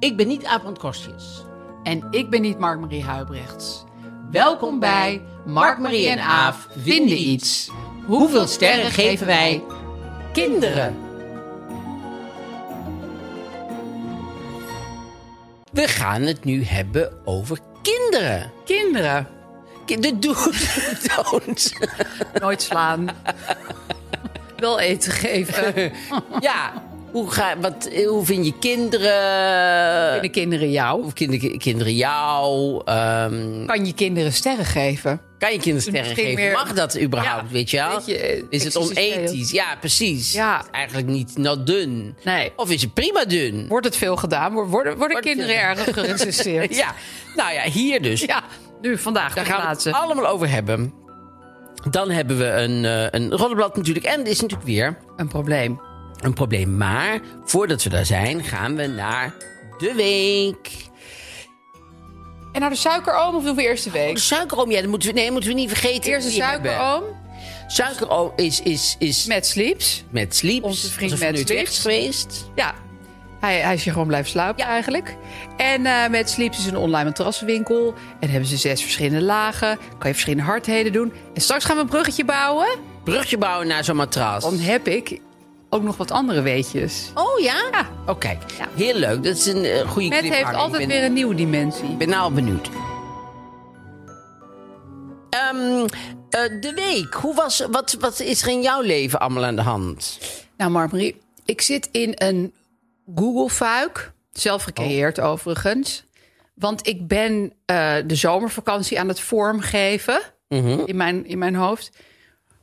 Ik ben niet Aap van Kostjes. En ik ben niet Mark-Marie Huibrechts. Welkom bij Mark, Marie en Aaf vinden iets. Hoeveel sterren geven wij kinderen? We gaan het nu hebben over kinderen. Kinderen. Ki- De do's en don'ts. Nooit slaan. Wel eten geven. Ja, hoe, ga, wat, hoe vind je kinderen? De kinderen jou. Hoe kinder- kinderen jou? Ehm, Kan je kinderen sterren geven? Kan je kindersterren Misschien geven? meer- Mag dat überhaupt, Ja, weet je wel? weet je, eh, is het existentieel. onethisch? Ja, precies. Ja. Is het Eigenlijk niet nou dun. Nee. Of is het prima dun? Wordt het veel gedaan? Worden, worden, worden Wordt- kinderen erg gerecenseerd? Ja, nou ja, hier dus. ja, nu vandaag Daar gaan we het plaatsen. allemaal over hebben. Dan hebben we een, eh een roddelblad natuurlijk. En er is natuurlijk weer Een probleem. een probleem. Maar voordat we daar zijn, gaan we naar de week. En naar de suikeroom of doen we eerst de De week? suikeroom, ja, dat moeten we, nee, moeten we niet vergeten. Eerst de Die hebben- suikeroom Suikeroom is, is, is met, met Sleeps. Sleeps. Onze vriend Onze Matt nu Sleeps. terecht geweest. Ja, hij, hij is hier gewoon blijven slapen eigenlijk. En eh, met Sleeps is een online terraswinkel. En hebben ze zes verschillende lagen. Kan je verschillende hardheden doen. En straks gaan we een bruggetje bouwen. Brugje bouwen naar zo'n matras. Dan heb ik ook nog wat andere weetjes. Oh ja? Oh kijk, Ja. heel leuk. Dat is een eh, goede Met clip. heeft altijd ik ben, weer een nieuwe dimensie. ben nou al benieuwd. Ehm, eh, de week. Hoe was, wat, wat is er in jouw leven allemaal aan de hand? Nou, Marmarie, ik zit in een Google-fuik. Zelf gecreëerd overigens. Want ik ben eh, de zomervakantie aan het vormgeven in, mijn, in mijn hoofd.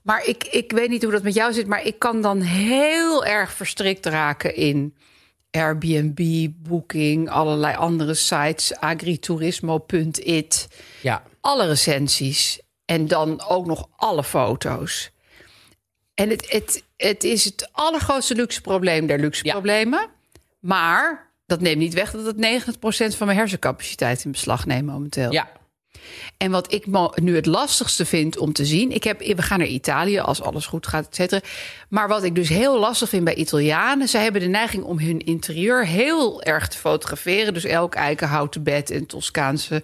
Maar ik, ik weet niet hoe dat met jou zit, maar ik kan dan heel erg verstrikt raken in Airbnb, Booking, allerlei andere sites, agritourismo.it Ja. alle recensies en dan ook nog alle foto's. En het, het, het is het allergrootste luxe probleem der luxe Ja. problemen. Maar dat neemt niet weg dat het 90% van mijn hersencapaciteit in beslag neemt momenteel. Ja. En wat ik mo- nu het lastigste vind om te zien. Ik heb, we gaan naar Italië als alles goed gaat, et cetera. Maar wat ik dus heel lastig vind bij Italianen. Zij hebben de neiging om hun interieur heel erg te fotograferen. Dus elk eikenhouten bed en Toscaanse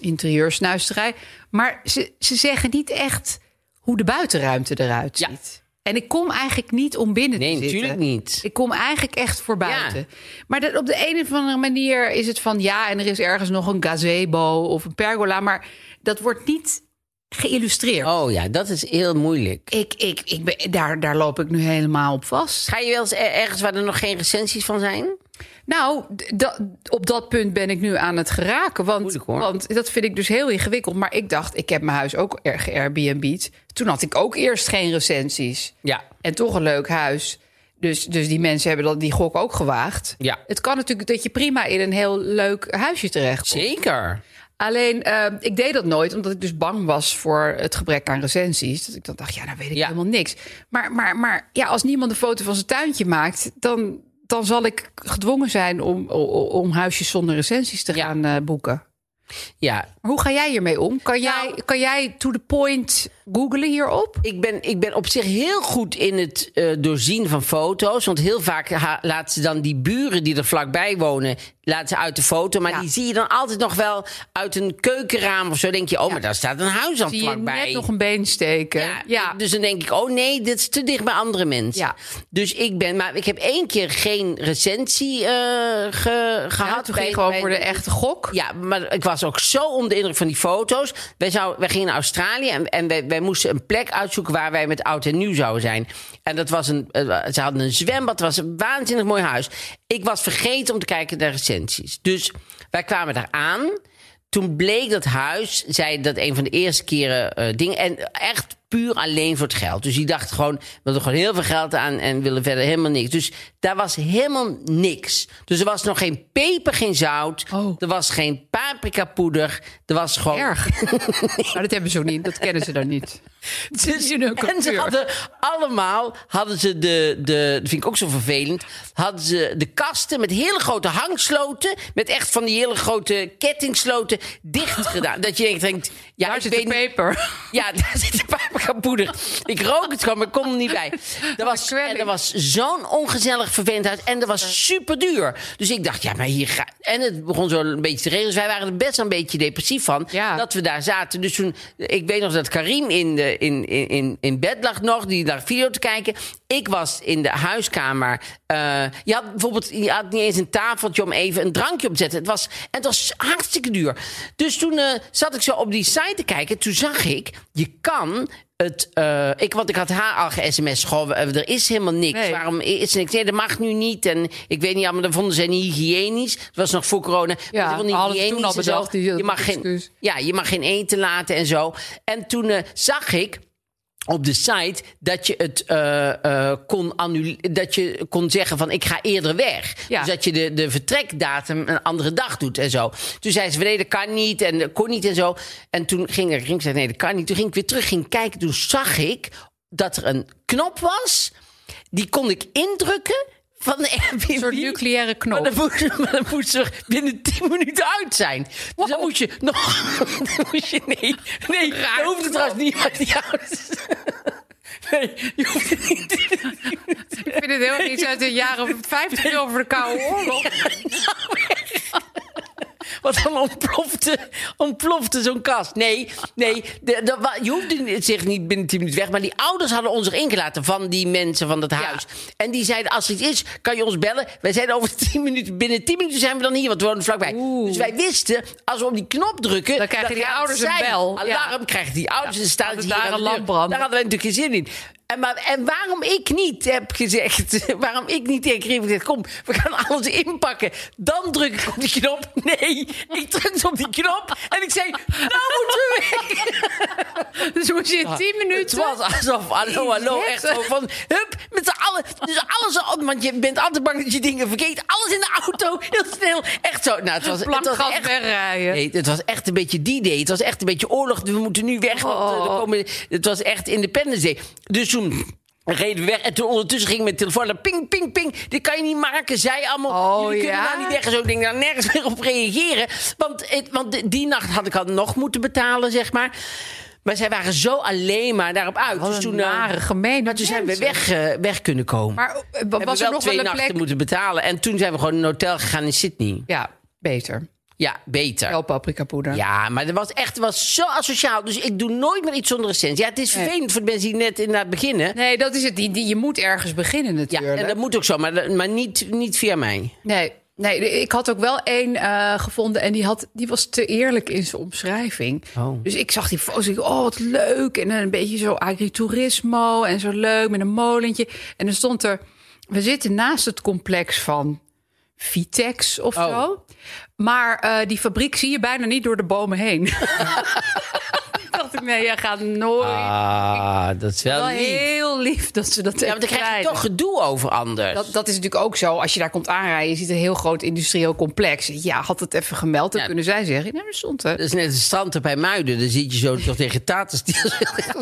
interieursnuisterij. Maar ze, ze zeggen niet echt hoe de buitenruimte eruit Ja. ziet. En ik kom eigenlijk niet om binnen Nee, te zitten. natuurlijk niet. Ik kom eigenlijk echt voor buiten. Maar dat op de een of andere manier is het van ja, en er is ergens nog een gazebo of een pergola, maar dat wordt niet geïllustreerd. Oh ja, dat is heel moeilijk. Ik, ik, ik ben, daar, daar loop ik nu helemaal op vast. Ga je wel eens er- ergens waar er nog geen recensies van zijn? Nou, d- dat- op dat punt ben ik nu aan het geraken. Want, Moeilijk, hoor. want dat vind ik dus heel ingewikkeld. Maar ik dacht, ik heb mijn huis ook erg Airbnb'd. Toen had ik ook eerst geen recensies. Ja. En toch een leuk huis. Dus, dus die mensen hebben dat, die gok ook gewaagd. Ja. Het kan natuurlijk dat je prima in een heel leuk huisje terecht komt. Zeker. Alleen, eh, ik deed dat nooit, omdat ik dus bang was voor het gebrek aan recensies. Dat ik dan dacht, ja, nou weet ik Ja. helemaal niks. Maar, maar, maar ja, als niemand een foto van zijn tuintje maakt, dan, dan zal ik gedwongen zijn om, o- o- om, huisjes zonder recensies te Ja. gaan eh, boeken. Ja, Maar hoe ga jij hiermee om? Kan jij, Nou- kan jij to the point googlen hierop? ik ben, ik ben op zich heel goed in het eh, doorzien van foto's. Want heel vaak ha- laten ze dan die buren die er vlakbij wonen... laten ze uit de foto. Maar Ja. die zie je dan altijd nog wel uit een keukenraam of zo. denk je, oh, maar daar staat een huis aan Zie je vlakbij. net nog een been steken? Ja, Dus dan denk ik, oh nee, dit is te dicht bij andere mensen. Ja. Dus ik ben, maar ik heb één keer geen recensie eh, ge- gehad. Ja, toen bij- ging je Nou, gewoon bij- voor de echte gok. Ja, maar ik was ook zo onder de indruk van die foto's. Wij, zou, wij gingen naar Australië en, en wij, wij moesten een plek uitzoeken waar wij met oud en nieuw zouden zijn. En dat was een, eh, ze hadden een zwembad, het was een waanzinnig mooi huis. Ik was vergeten om te kijken naar recensies. Dus wij kwamen daar aan. Toen bleek dat huis, zei dat een van de eerste keren eh dingen. En echt puur alleen voor het geld. Dus die dacht gewoon, we willen gewoon heel veel geld aan en willen verder helemaal niks. Dus daar was helemaal niks. Dus er was nog geen peper, geen zout. Oh. Er was geen paprika poeder. Er was gewoon. Erg. maar dat hebben ze ook niet. Dat kennen ze dan niet. Dus- is in hun en ze cultuur. hadden allemaal, hadden ze de, de, dat vind ik ook zo vervelend, hadden ze de kasten met hele grote hangsloten, met echt van die hele grote kettingsloten, dicht gedaan. dat je denkt, denkt ja, Daar ik zit weet de niet- paper. Ja, daar zit de paprika poeder. Ik rook het gewoon, maar ik kom er niet bij. Er was, kwelling. en er was zo'n ongezellig verwend huis. En dat was super duur. Dus ik dacht, ja, maar hier ga... En het begon zo een beetje te regelen. Dus wij waren er best een beetje depressief van. Ja. Dat we daar zaten. Dus toen, ik weet nog dat Karim in, de, in, in- in, in bed lag nog. Die lag video te kijken. Ik was in de huiskamer. Eh, je had bijvoorbeeld je had niet eens een tafeltje om even een drankje op te zetten. Het was, en het was hartstikke duur. Dus toen eh, zat ik zo op die site te kijken. Toen zag ik, je kan het... eh, ik, want ik had haar al ge-sms. Goh, eh, er is helemaal niks. Nee. Waarom is er niks? Nee, dat mag nu niet. En ik weet niet, ja, maar dat vonden ze niet hygiënisch. Dat was nog voor corona. Ja, Maar ze vonden hadden ze hygiënisch toen al en zo. bedacht, die- je mag geen, excuus. ja, je mag geen eten laten en zo. En toen eh, zag ik op de site dat je het eh, eh, kon annuleren. Dat je kon zeggen van ik ga eerder weg. Ja. Dus dat je de, de vertrekdatum een andere dag doet en zo. Toen zei ze, nee, dat kan niet en dat kon niet en zo. En toen ging ik, ging, zei, nee, dat kan niet. Toen ging ik weer terug, ging kijken. Toen zag ik dat er een knop was. Die kon ik indrukken van de Airbnb. Een soort nucleaire knop. Maar dan moest, maar dan moest ze er binnen 10 minuten uit zijn. Dus dan moest je nog. dan moest je, nee, nee Raar dat hoeft het knop. trouwens niet uit die ouders. Nee, je hoeft het niet. Ik vind het heel iets uit de jaren 50 over de Koude Oorlog. Want dan ontplofte, ontplofte zo'n kast. Nee, nee de, de- wa- je hoeft niet- zich niet binnen 10 minuten weg. Maar die ouders hadden ons erin gelaten van die mensen van dat huis. En die zeiden, als er iets is, kan je ons bellen. Wij zijn over 10 minuten, binnen 10 minuten zijn we dan hier. Want we wonen vlakbij. Dus wij wisten, als we op die knop drukken... Dan krijgen die gaat het ouders een zijn. bel. Ja. Alarm krijgen die ouders. Ja, en staan hadden ze daar hier aan een de deur. lampbrand. Daar hadden wij natuurlijk geen zin in. En, maar, en waarom ik niet heb gezegd, waarom ik niet tegen Karim heb gezegd, kom, we gaan alles inpakken. Dan druk ik op die knop. Nee, ik drukte op die knop en ik zei, nou moeten we weg. Dus moest je in 10 Het minuten... was alsof, hallo, hallo, Yes. echt zo van, hup, met z'n allen. Dus alles, op, want je bent altijd bang dat je dingen vergeet. Alles in de auto, heel snel. Echt zo, nou, het was, het was Plankgas echt wegrijden. Nee, het was echt een beetje die day. Het was echt een beetje oorlog. We moeten nu weg. want, eh, Oh. er komen, het was echt Independence Day. Dus toen reden we weg. En toen ondertussen ging mijn telefoon naar ping, ping, ping. Dit kan je niet maken. Zij allemaal. Oh, Jullie kunnen ja? daar niet weg. En zo ik denk daar nergens meer op reageren. Want, het- want de- die nacht had ik al nog moeten betalen, zeg maar. Maar zij waren zo alleen maar daarop uit. Wat dus een toen, eh, nare, gemene Maar toen zijn we mensen. weg, eh, weg kunnen komen. Maar eh, Hebben was we er wel nog twee wel een nachten plek... moeten betalen. En toen zijn we gewoon in een hotel gegaan in Sydney. Ja, beter. Ja, beter. Wel paprikapoeder. Ja, maar dat was echt dat was zo asociaal. Dus ik doe nooit meer iets zonder recensie. Ja, het is vervelend voor de mensen die net inderdaad beginnen. Nee, dat is het. Die, die, je moet ergens beginnen Ja, natuurlijk. en dat moet ook zo, maar, maar niet, niet via mij. Nee, nee, ik had ook wel één eh, gevonden en die, had, die was te eerlijk in zijn omschrijving. Oh. Dus ik zag die foto's, ik dacht, oh wat leuk. En een beetje zo agriturismo en zo leuk met een molentje. En dan stond er, we zitten naast het complex van Vitex of Oh. zo. Maar eh, die fabriek zie je bijna niet door de bomen heen. Ik dacht, dachten, nee, jij gaat nooit. Ah, dat is wel wel lief. heel lief dat ze dat Ja, want dan krijg je toch gedoe over anders. Dat, dat is natuurlijk ook zo. Als je daar komt aanrijden, je ziet een heel groot industrieel complex. Ja, had het even gemeld, dan Ja. kunnen zij zeggen... Nou, dat stond er. Dat is net een strand bij Muiden. Dan zit je zo toch tegen taters. die zo-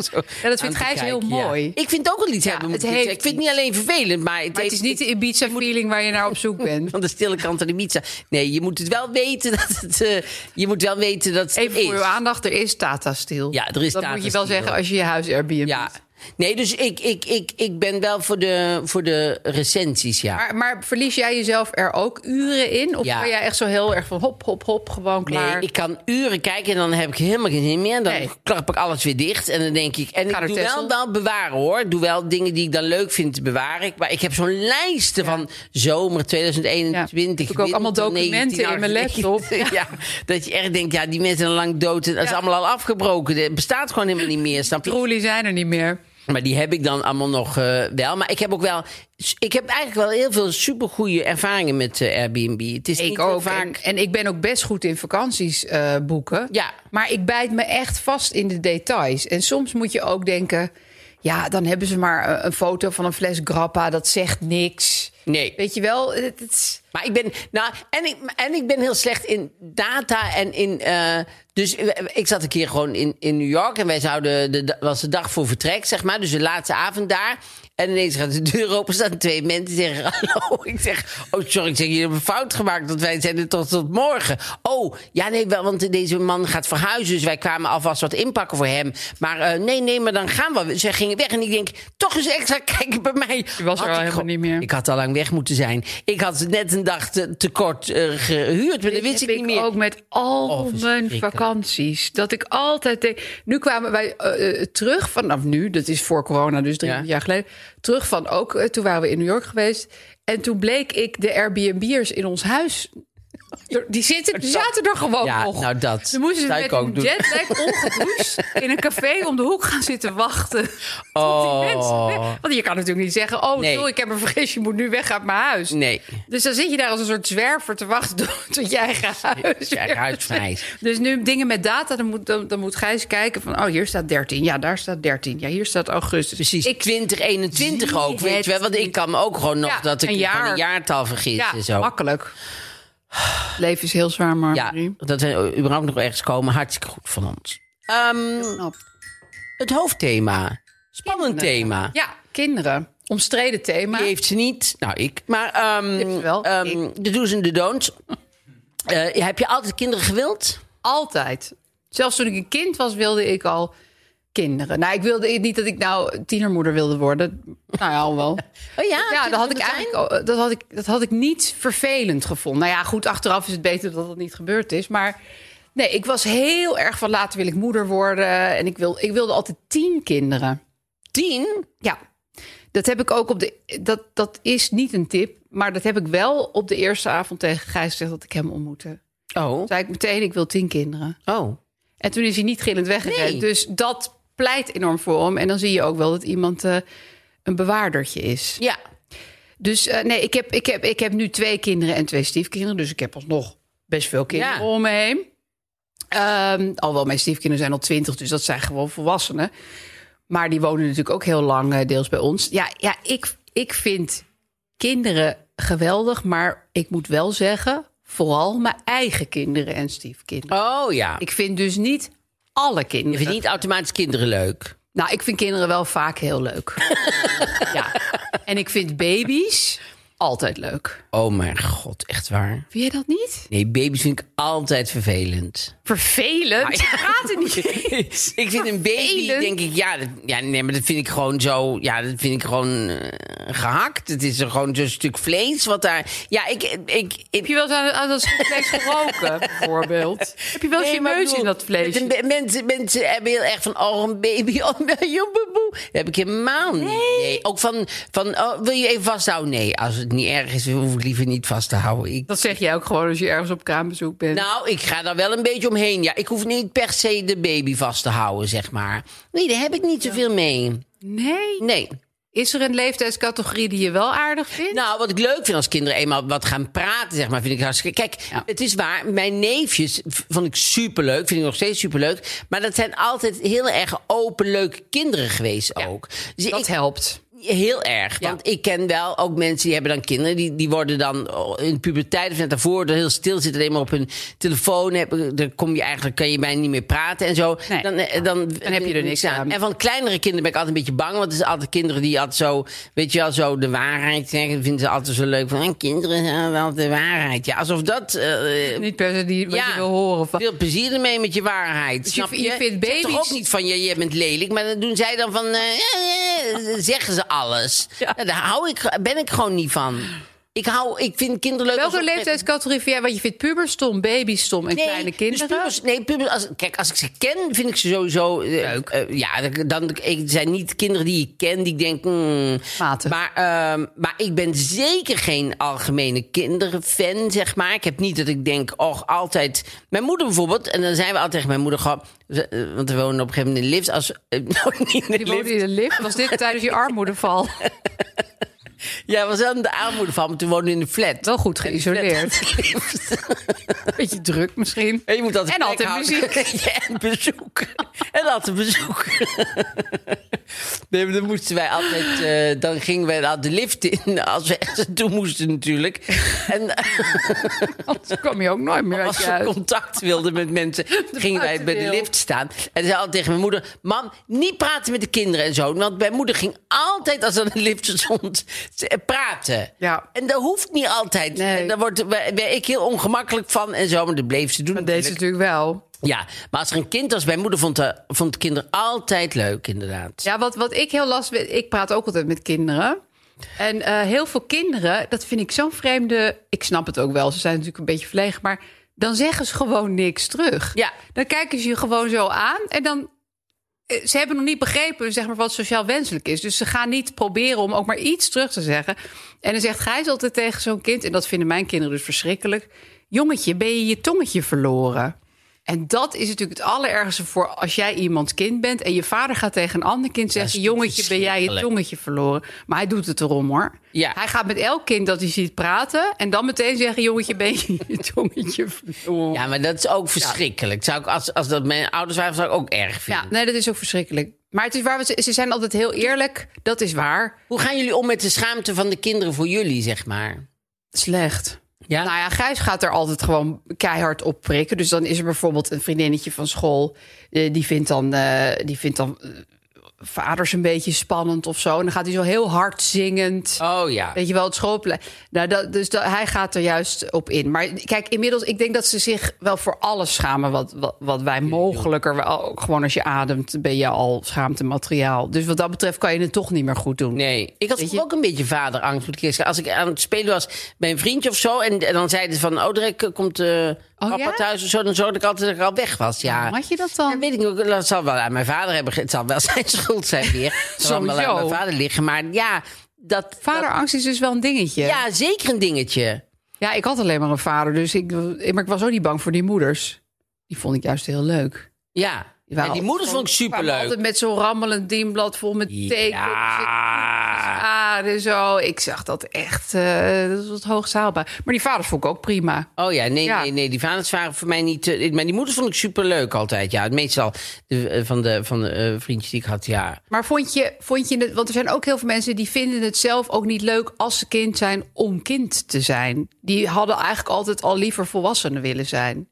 zo Ja, dat vindt aan te Gijs heel kijken, ja. mooi. Ik vind het ook een lied hebben. Ja, moet het ik zeggen. heeft ik vind het niet alleen vervelend, maar het, Maar het heeft is niet de Ibiza-feeling waar je naar op zoek bent. van de stille kant aan de pizza. Nee, je moet het wel weten dat het. eh, je moet wel weten dat het Even is. voor uw aandacht, er is Tata Steel. Ja, er is Dat Tata moet je wel Steel. zeggen als je je huis Airbnb. Ja. Nee, dus ik, ik, ik, ik ben wel voor de, voor de recensies, ja. Maar, maar verlies jij jezelf er ook uren in? Of Ja. ben jij echt zo heel erg van hop, hop, hop, gewoon klaar? Nee, ik kan uren kijken en dan heb ik helemaal geen zin meer. Dan Nee. klap ik alles weer dicht en dan denk ik... En Ga ik naar doe Texel. wel, wel bewaren, hoor. Ik doe wel dingen die ik dan leuk vind, bewaar ik. Maar ik heb zo'n lijsten van zomer 2021. Ja. Heb ik ook allemaal winter documenten in mijn 1998. ja, dat je echt denkt, ja, die mensen zijn lang dood. en Dat is Ja. allemaal al afgebroken. Het bestaat gewoon helemaal niet meer, snap je? Troelie zijn er niet meer. Maar die heb ik dan allemaal nog eh, wel. Maar ik heb ook wel. Ik heb eigenlijk wel heel veel supergoeie ervaringen met eh, Airbnb. Het is niet Ik heel ook. vaak. En, en ik ben ook best goed in vakanties eh, boeken. Ja. Maar ik bijt me echt vast in de details. En soms moet je ook denken... Ja, dan hebben ze maar eh, een foto van een fles grappa. Dat zegt niks. Nee. Weet je wel, het, het is... Maar ik ben. Nou, en ik, en ik ben heel slecht in data en in. eh, dus ik zat een keer gewoon in, in New York en wij zouden. De, was de dag voor vertrek, zeg maar. Dus de laatste avond daar. En ineens gaat de deur open, staan twee mensen die zeggen hallo. Ik zeg, oh sorry, ik zeg, jullie hebben een fout gemaakt, want wij zijn er tot, tot morgen. Oh, ja nee, wel, want deze man gaat verhuizen, dus wij kwamen alvast wat inpakken voor hem. Maar eh, nee, nee, maar dan gaan we. Dus Zij gingen weg en ik denk, toch eens extra kijken bij mij. Je Had was er al ik helemaal gewoon- niet meer. Ik had al lang weg moeten zijn. Ik had net een dag te, te kort eh, gehuurd, maar dat wist ik heb niet meer. ook met al Oh, mijn verschrikkelijk. vakanties. Dat ik altijd denk... Nu kwamen wij eh, eh, terug vanaf nu. Dat is voor corona, dus drie Ja. jaar geleden. Terug van ook... eh, toen waren we in New York geweest. En toen bleek ik de Airbnb'ers in ons huis... er- Die zitten, die zaten er gewoon Ja, nog. nou dat Ze moesten zou met ik ook een doen. jetlag ongeroest in een café om de hoek gaan zitten wachten. Tot Oh. die mensen weg- Want je kan natuurlijk niet zeggen... oh, Nee. sorry, ik heb een vergis, je moet nu weg uit mijn huis. Nee. Dus dan zit je daar als een soort zwerver te wachten tot- tot jij gaat huis. je eigen huis vrijt. Dus nu dingen met data, dan moet, dan, dan moet Gijs kijken van... oh, hier staat 13, ja, daar staat 13, ja, hier staat augustus. Precies, Ik, 2021 ook, zie weet je wel. het Want ik kan me ook gewoon nog Ja, dat ik een een, jaar. een jaartal vergis ja, en zo. makkelijk. Het leven is heel zwaar, maar... Ja, dat we überhaupt nog ergens komen. Hartstikke goed van ons. Ehm, het hoofdthema. Spannend thema. Ja, kinderen. Omstreden thema. Die heeft ze niet. Nou, ik. Maar ehm, heeft ze wel. ehm, de do's en de don'ts. Eh, heb je altijd kinderen gewild? Altijd. Zelfs toen ik een kind was, wilde ik al kinderen. Nou, ik wilde niet dat ik nou tienermoeder wilde worden. Nou ja, al wel. Oh ja, ja, dat had ik kinderen eigenlijk al- dat had ik, dat had ik niet vervelend gevonden. Nou ja, goed, achteraf is het beter dat dat niet gebeurd is. Maar nee, ik was heel erg van later wil ik moeder worden. En ik, wil, ik wilde altijd tien kinderen. Tien? Ja, dat heb ik ook op de. Dat, dat is niet een tip, maar dat heb ik wel op de eerste avond tegen Gijs gezegd dat ik hem ontmoette. Oh. Zei ik meteen, ik wil tien kinderen. Oh. En toen is hij niet gillend weggereden. Nee. Dus dat pleit enorm voor hem. En dan zie je ook wel dat iemand eh, een bewaardertje is. Ja. Dus eh, nee, ik heb, ik, heb, ik heb nu twee kinderen en twee stiefkinderen. Dus ik heb alsnog best veel kinderen Ja. om me heen. Ehm, alhoewel mijn stiefkinderen zijn al twintig, dus dat zijn gewoon volwassenen. Maar die wonen natuurlijk ook heel lang eh, deels bij ons. Ja, ja ik, ik vind kinderen geweldig. Maar ik moet wel zeggen, vooral mijn eigen kinderen en stiefkinderen. Oh ja. Ik Ik vind dus niet alle kinderen. vind niet automatisch kinderen leuk. Nou, ik vind kinderen wel vaak heel leuk. ja. En ik vind baby's altijd leuk. Oh mijn god, echt waar. Vind jij dat niet? Nee, baby's vind ik altijd vervelend. Vervelend? ja. Gaat het niet? ik vind een baby, Vervelend. denk ik, ja, dat- ja, nee, maar dat vind ik gewoon zo, ja, dat vind ik gewoon eh, gehakt. Het is er gewoon zo'n stuk vlees wat daar, ja, ik, ik, ik Heb je wel eens aan, aan dat vlees geroken, bijvoorbeeld? Heb je wel eens Nee, je maar ik neus in bedoel, dat vlees? met een- Mensen, mensen hebben heel erg van, oh, een baby, oh, nee, joe, boe, boe. Dat heb ik helemaal niet. Nee. Ook van, van oh, wil je even vasthouden? Nee, als het niet erg is, hoef ik liever niet vast te houden. Ik, Dat zeg jij ook gewoon als je ergens op kraambezoek bent. nou, ik ga daar wel een beetje omheen. Ja, ik hoef niet per se de baby vast te houden, zeg maar. Nee, daar heb ik niet zoveel mee. nee. Nee. Is er een leeftijdscategorie die je wel aardig vindt? Nou, wat ik leuk vind als kinderen eenmaal wat gaan praten, zeg maar, vind ik hartstikke. Kijk, Ja. het is waar. Mijn neefjes v- vond ik superleuk, vind ik nog steeds superleuk. Maar dat zijn altijd heel erg open, leuke kinderen geweest ook. Dus dat ik, helpt. Heel erg. Ja. Want ik ken wel ook mensen die hebben dan kinderen. Die, die worden dan oh, in de puberteit of net daarvoor door heel stil zitten. Alleen maar op hun telefoon. Heb, dan kom je eigenlijk, kan je bijna niet meer praten en zo. Nee. Dan, eh, dan, heb je er niks aan. En van kleinere kinderen ben ik altijd een beetje bang. Want het zijn altijd kinderen die altijd zo, weet je wel, zo de waarheid zeggen. Dat vinden ze altijd zo leuk. Van, "Ah, kinderen zijn wel de waarheid. Ja, alsof dat... eh, Niet per se die wat ja, je wil horen. Van. veel plezier ermee met je waarheid. je- snap je vindt Zeg toch baby's- ook niet van, je, je bent lelijk. Maar dan doen zij dan van, eh, eh, eh, zeggen ze alles. Ja. Nou, daar hou ik, ben ik gewoon niet van. Ik, hou, ik vind kinderen leuk. als Welke ze- leeftijdscategorie vind jij? Want je vindt pubers stom, baby's stom en Nee, kleine dus kinderen. pubers- nee, pubers, als, kijk, als ik ze ken, vind ik ze sowieso... eh, eh, ja, dan ik, het zijn niet kinderen die ik ken, die ik denk... hmm, Matig. Maar, ehm, maar ik ben zeker geen algemene kinderenfan, zeg maar. Ik heb niet dat ik denk, oh, altijd... Mijn moeder bijvoorbeeld, en dan zijn we altijd tegen mijn moeder... Gewoon, ze- eh, want we wonen op een gegeven moment in de lift. Als, eh, nou, niet in de Die woonde lift. in de lift. Was dit tijdens je armoedeval? Ja, we was wel in de armoede van, maar toen woonden we in een flat. Wel goed geïsoleerd. Lift. Beetje druk misschien. En je moet altijd En altijd plek houden. Ja, en bezoek. en altijd bezoek. nee, maar dan moesten wij altijd... eh, dan gingen wij altijd de lift in. Als we ergens naartoe moesten natuurlijk. En Anders kwam je ook nooit meer uit als je we huis. contact wilden met mensen... gingen wij bij de buitendeel. lift staan. En zei altijd tegen mijn moeder... Mam, niet praten met de kinderen en zo. Want mijn moeder ging altijd, als er een lift stond, ze- eh, praten. Ja. En dat hoeft niet altijd. Nee. En Daar word, werd ik heel ongemakkelijk van en zo. Maar dat bleef ze doen. Dat deed ze natuurlijk wel. Ja, maar als er een kind was, mijn moeder vond, de, vond kinderen altijd leuk, inderdaad. Ja, wat, wat ik heel lastig vind, ik praat ook altijd met kinderen. En eh, heel veel kinderen, dat vind ik zo'n vreemde... Ik snap het ook wel, ze zijn natuurlijk een beetje verlegen. Maar dan zeggen ze gewoon niks terug. Ja. Dan kijken ze je gewoon zo aan en dan... eh, Ze hebben nog niet begrepen zeg maar, wat sociaal wenselijk is. Dus ze gaan niet proberen om ook maar iets terug te zeggen. En dan zegt Gijs altijd tegen zo'n kind... en dat vinden mijn kinderen dus verschrikkelijk... jongetje, ben je je tongetje verloren? En dat is natuurlijk het allerergste voor als jij iemands kind bent... en je vader gaat tegen een ander kind zeggen... jongetje, ben jij je verschrikkelijk. tongetje verloren? Maar hij doet het erom, hoor. Ja. Hij gaat met elk kind dat hij ziet praten... en dan meteen zeggen, jongetje, ben je je tongetje verloren? Ja, maar dat is ook verschrikkelijk. Zou ik, als, als dat mijn ouders waren, zou ik ook erg vinden. Ja, nee, dat is ook verschrikkelijk. Maar het is waar, we- ze ze zijn altijd heel eerlijk. Dat is waar. Hoe gaan jullie om met de schaamte van de kinderen voor jullie, zeg maar? Slecht. Ja? Nou ja, Gijs gaat er altijd gewoon keihard op prikken. Dus dan is er bijvoorbeeld een vriendinnetje van school. eh, die vindt dan, eh, die vindt dan eh, vaders een beetje spannend of zo. En dan gaat hij zo heel hard zingend. Oh ja. Weet je wel, het schoolplein. Nou, dat, dus dat, hij gaat er juist op in. Maar kijk, inmiddels, ik denk dat ze zich wel voor alles schamen. Wat, wat, wat wij mogelijker. wel- ook Gewoon als je ademt, ben je al schaamtemateriaal. Dus wat dat betreft kan je het toch niet meer goed doen. Nee, ik had ook een beetje vaderangst moet ik eerlijk zeggen. Als ik aan het spelen was bij een vriendje of zo... en, en dan zeiden ze van, oh, Drek, komt eh papa ja? Oh, thuis of zo... dan zorgde ik altijd dat ik al weg was, ja. Waarom had je dat dan? Ja, weet ik niet, dat zal wel aan mijn vader hebben... ge- het zal wel zijn schuld zijn weer. Het zal wel aan Sowieso. mijn vader liggen, maar ja... Dat, dat- Vaderangst is dus wel een dingetje. Ja, zeker een dingetje. Ja, ik had alleen maar een vader. Dus ik, maar ik was ook niet bang voor die moeders. Die vond ik juist heel leuk. Ja. waren en die moeder vond ik kwamen superleuk. Altijd met zo'n rammelend dienblad vol met tekens. Ja. Ah, en zo. Ik zag dat echt. eh, dat was het hoogst haalbaar. Maar die vader vond ik ook prima. Oh ja, nee, Ja. nee, nee. Die vaders waren voor mij niet... eh, maar die moeder vond ik superleuk altijd. Ja, meestal de, eh, van de, van de eh, vriendjes die ik had, ja. Maar vond je, vond je het. Want er zijn ook heel veel mensen die vinden het zelf ook niet leuk als ze kind zijn om kind te zijn. Die hadden eigenlijk altijd al liever volwassenen willen zijn.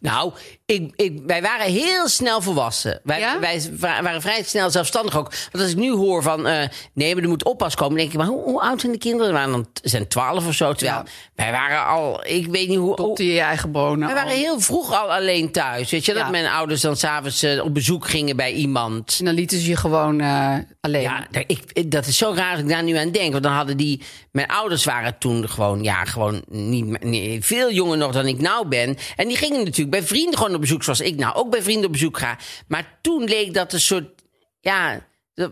Nou, ik, ik, wij waren heel snel volwassen. Wij, Ja? wij vra- waren vrij snel zelfstandig ook. Want als ik nu hoor van, eh, nee, maar er moet oppas komen... denk ik, maar hoe, hoe oud zijn de kinderen? Ze waren dan, ze zijn twaalf of zo. Terwijl Ja. wij waren al, ik weet niet hoe... Tot je je eigen bonen. wij al. Oh. waren heel vroeg al alleen thuis. Weet je, dat Nou, Ja. mijn ouders dan s'avonds eh, op bezoek gingen bij iemand. En dan lieten ze je gewoon eh, alleen. Ja, daar- ik, ik- dat is zo raar als ik daar nu aan denk. Want dan hadden die... Mijn ouders waren toen gewoon, ja, gewoon niet, niet- veel jonger nog dan ik nou ben. En die gingen natuurlijk bij vrienden gewoon op bezoek. Zoals ik nou ook bij vrienden op bezoek ga. Maar toen leek dat een soort... Ja,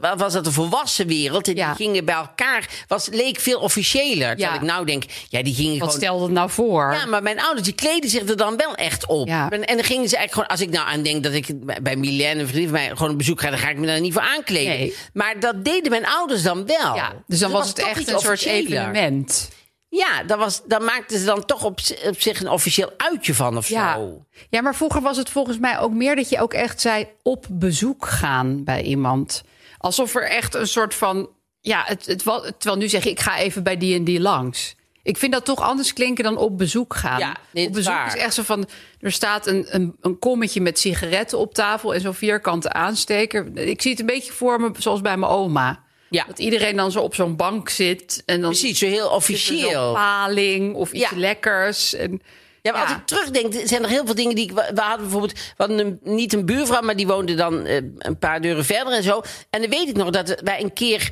wa- was dat de volwassen wereld. En Ja. die gingen bij elkaar. Was, leek veel officiëler. Terwijl Ja. ik nou denk, ja, die gingen Wat gewoon... stelde het nou voor? Ja, maar mijn ouders die kleden zich er dan wel echt op. Ja. En, en dan gingen ze eigenlijk gewoon, als ik nou aan denk dat ik bij- bij Milène, een vriend van mij, gewoon op bezoek ga, dan ga ik me daar niet voor aankleden. Nee. Maar dat deden mijn ouders dan wel. Ja, dus dan Er was het toch echt iets een soort officiëler. evenement. Ja, dan, was, dan maakten ze dan toch op, zi- op zich een officieel uitje van of Ja. zo. ja, maar vroeger was het volgens mij ook meer dat je ook echt zei op bezoek gaan bij iemand. Alsof er echt een soort van. Ja, het, het, wa- terwijl nu zeg je, ik ga even bij die en die langs. Ik vind dat toch anders klinken dan op bezoek gaan. Ja, dit op is bezoek waar. is echt zo van, er staat een, een, een kommetje met sigaretten op tafel en zo'n vierkante aansteker. Ik zie het een beetje voor me zoals bij mijn oma. Ja. Dat iedereen dan zo op zo'n bank zit en dan Precies, zo heel Zit er zo'n officieel. paling of iets Ja. lekkers. En, Ja, maar ja. als ik terugdenk, er zijn nog heel veel dingen die ik... We we hadden bijvoorbeeld we hadden een, niet een buurvrouw, maar die woonde dan eh, een paar deuren verder en zo. En dan weet ik nog dat wij een keer